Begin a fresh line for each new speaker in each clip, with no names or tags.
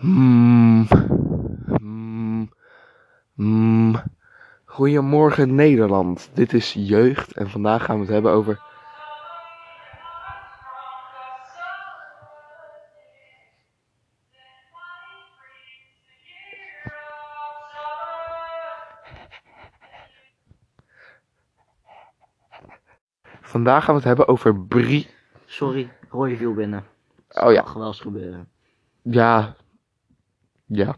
Mm, mm. Goedemorgen Nederland, dit is Jeugd en vandaag gaan we het hebben over. Vandaag gaan we het hebben over Brie.
Sorry, Roy viel binnen.
Oh ja,
Mag wel eens gebeuren.
Ja. Ja.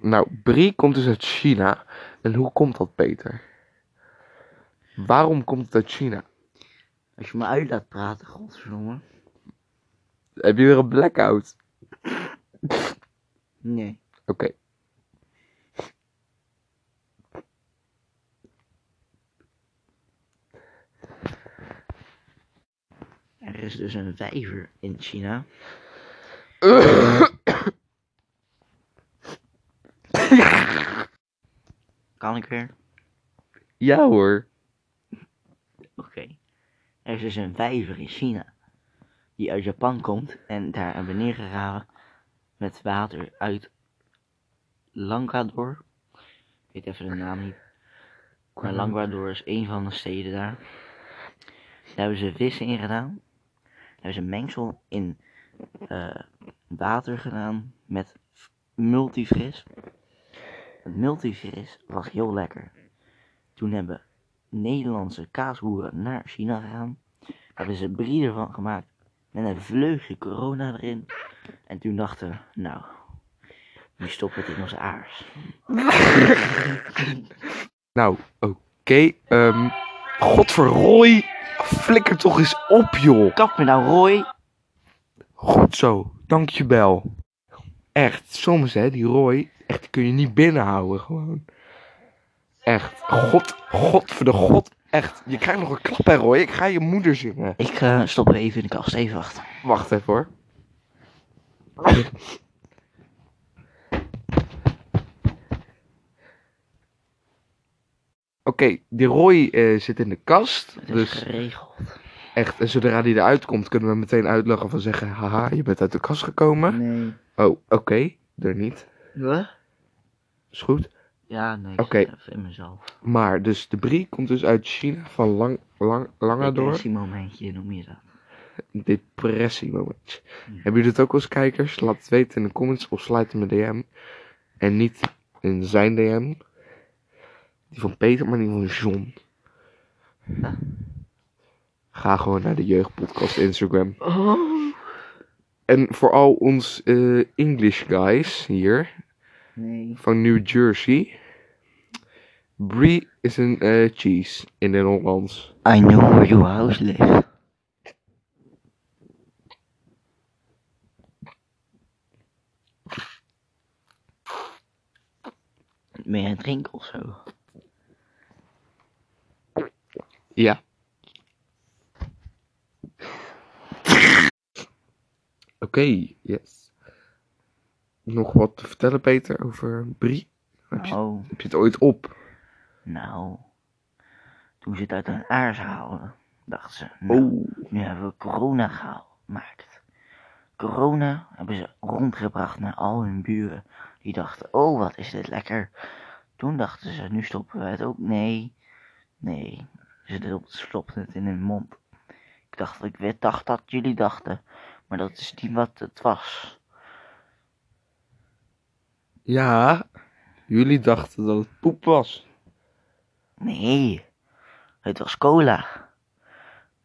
Nou, Brie komt dus uit China. En hoe komt dat, Peter? Waarom komt het uit China?
Als je me uit laat praten, godverdomme.
Heb je weer een blackout?
Nee.
Oké.
Er is dus een vijver in China. Kan ik weer?
ja hoor.
Oké. Er is dus een vijver in China. Die uit Japan komt en daar naar beneden gegraven. Met water uit Langador. Ik weet even de naam niet. Maar Langador is een van de steden daar. Daar hebben ze vissen in gedaan. Daar hebben ze mengsel in eh, water gedaan met f- multifris. Het multifris was heel lekker. Toen hebben Nederlandse kaasboeren naar China gegaan. Daar hebben ze brie ervan gemaakt met een vleugje corona erin. En toen dachten we, nou, nu stoppen we het in onze aars.
Nou, oké. ehm Godverrooi. Flikker toch eens op, joh.
Kap me nou, Roy!
Goed zo. Dankjewel. Echt, soms hè, die Roy. Echt, die kun je niet binnenhouden gewoon. Echt. God, god voor de god. Echt, je krijgt nog een klap hè Roy. Ik ga je moeder zingen.
Ik eh, stop er even in de kast, even wachten.
Wacht even hoor. Oké, die Roy eh, zit in de kast.
Het is
Dus
geregeld.
echt, en zodra die eruit komt, kunnen we meteen uitlachen van zeggen: Haha, je bent uit de kast gekomen.
Nee.
Oh, oké, er niet.
Wat?
Is goed.
Ja, nee, ik
Oké.
zit even in mezelf.
Maar dus de brie komt dus uit China van lang, lang, langer door.
Depressiemomentje noem je dat.
Depressie moment. Hebben jullie dat ook als kijkers? Laat het weten in de comments of sluit in mijn DM. En niet in zijn DM. Die van Peter, maar die van John.
Ja.
Ga gewoon naar de jeugdpodcast Instagram.
Oh.
En voor al ons eh, English guys hier
Nee.
van New Jersey. Brie is een eh, cheese in het Hollands.
I know where your house lives. Ben je aan het drinken of zo?
Ja. Oké, yes. Nog wat te vertellen, Peter, over Brie? Heb je,
Oh,
heb je het ooit op?
nou. Toen ze het uit hun aars haalden, dachten ze. Nou,
Oh,
Nu hebben we corona gemaakt. Corona hebben ze rondgebracht naar al hun buren. Die dachten, oh wat is dit lekker. Toen dachten ze, nu stoppen we het ook. Nee, nee. Ze stopten het in hun mond. Ik dacht, ik weet- dacht dat jullie dachten. Maar dat is niet wat het was.
ja. Jullie dachten dat het poep was.
Nee, het was cola.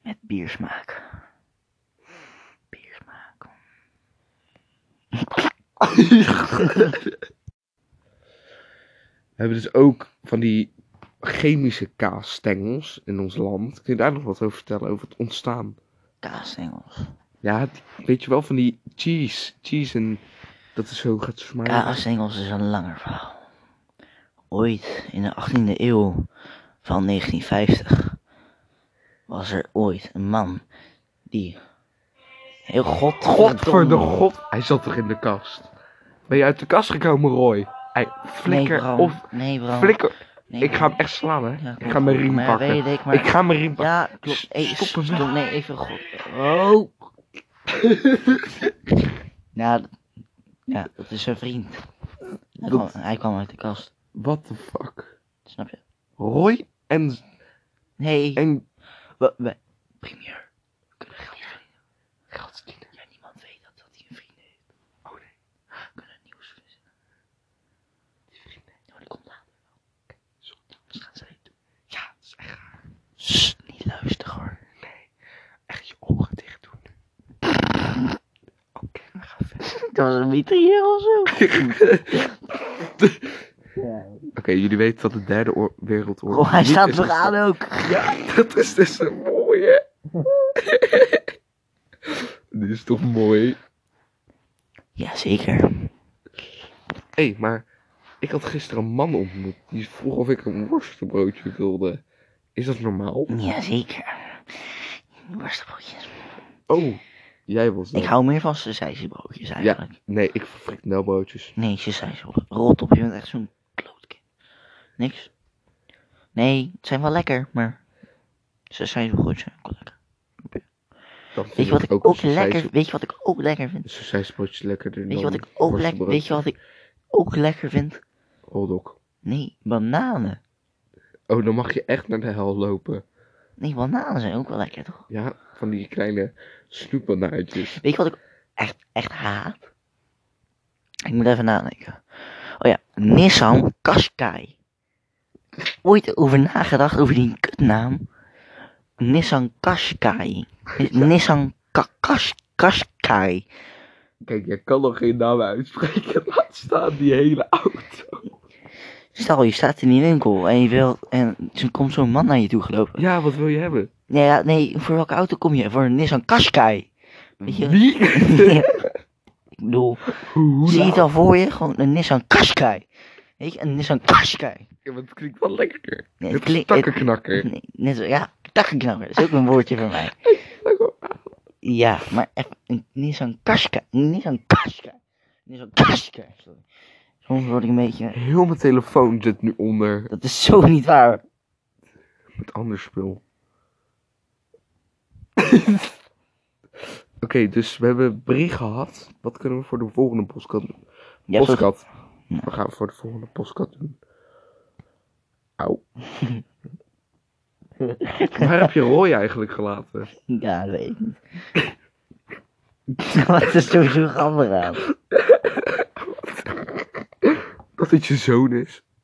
Met biersmaak. Biersmaak.
We hebben dus ook van die chemische kaasstengels in ons land. Kun je daar nog wat over vertellen, over het ontstaan?
Kaasengels.
Ja, die- weet je wel van die cheese. Cheese en dat is zo gaat smaken.
Kaasengels is een langer verhaal. Ooit in de 18e eeuw van 1950 was er ooit een man die heel god
God voor de god. Hij zat toch in de kast? Ben je uit de kast gekomen, Roy? Hij, flikker
nee, Bram.
of...
nee, Bram.
Flikker.
Nee,
ik ga
Bram.
hem echt slaan, hè.
Ja,
ik ga mijn riem
maar
pakken.
weet ik, maar-
Ik ga mijn riem pakken.
Ja, klopt. Hey,
Stop
stop,
hem weg.
stop, nee, even god. Oh. ja, d- ja, dat is zijn vriend. Hij,
Dat-
kwam, hij kwam uit de kast,
What the fuck?
snap je?
Roy en,
Nee,
en
we, we, premier. We kunnen geld verdienen.
geld verdienen.
Ja, niemand weet dat, dat hij een vriend heeft.
Oh, nee.
We kunnen nieuws verzinnen. Die vriend heeft. Oh, die komt later wel.
sorry.
Anders gaan ze het doen.
Ja, dat is echt raar.
Sst, niet luisteren hoor.
Nee, echt je ogen dicht doen. Oké, we gaan verder.
Dat was een mitrier of zo.
Oké, jullie weten dat de derde oor- wereldoorlog...
Oh, hij
niet
staat
is
vooraan ook.
ontstaan. Ja, dat is dus een mooie. Dit is toch mooi.
Jazeker.
Hé, hey, maar ik had gisteren een man ontmoet. Die vroeg of ik een worstenbroodje wilde. Is dat normaal?
Mm. Jazeker. Worstenbroodjes.
Oh, jij was dat.
Ik hou meer van sausijzenbroodjes eigenlijk.
Nee, ik frik nelbroodjes.
Nee, sausijzen. Rot op, je bent echt zo'n klootkind. Niks. Nee, het zijn wel lekker, maar sausijzenbroodjes zijn ook wel lekker.
Dat vind
Weet je wat ik ook,
ook
lekker, weet je wat ik ook lekker vind?
Sausijsbroodjes lekkerder dan
Weet je wat ik ook lekker, weet je wat ik ook lekker vind?
Hotdog.
Nee, bananen.
Oh, dan mag je echt naar de hel lopen.
Nee, bananen zijn ook wel lekker, toch?
Ja, van die kleine snoepbanaantjes.
Weet je wat ik echt, echt haat? Ik moet even nadenken. Oh ja, Nissan Qashqai. Ooit over nagedacht over die kutnaam? Nissan Qashqai. Ni- Nissan Ka- Qash- Qashqai.
Kijk, jij kan nog geen naam uitspreken. Laat staan die hele auto.
Stel, je staat in die winkel en je wilt, en er komt zo'n man naar je toe gelopen.
Ja, wat wil je hebben?
Nee, ja, nee, voor welke auto kom je? Voor een Nissan Qashqai. Weet je-
Wie?
Ik bedoel,
Hoe nou?
zie je het
laat?
al voor je? Gewoon een Nissan Qashqai. Weet je, een Nissan Qashqai.
Ja, maar het klinkt wel lekker.
Nee,
het is
klinkt-
takkenknakker.
Nee, net zo, ja, takkenknakker. Dat is ook een woordje voor mij. Ja, maar echt, een- niet zo'n kaska. Niet zo'n kaska. Niet zo'n kaska. sorry. Soms word ik een beetje...
Heel mijn telefoon zit nu onder
Dat is zo niet waar.
het ander spul. Oké, dus we hebben brie gehad. Wat kunnen we voor de volgende postkat doen?
Ja, voor-
Postkat.
Ja.
We gaan voor de volgende postkat doen. Auw. Waar heb je Roy eigenlijk gelaten?
Ja, dat weet ik niet. Wat is sowieso grappig aan?
Dat het je zoon is.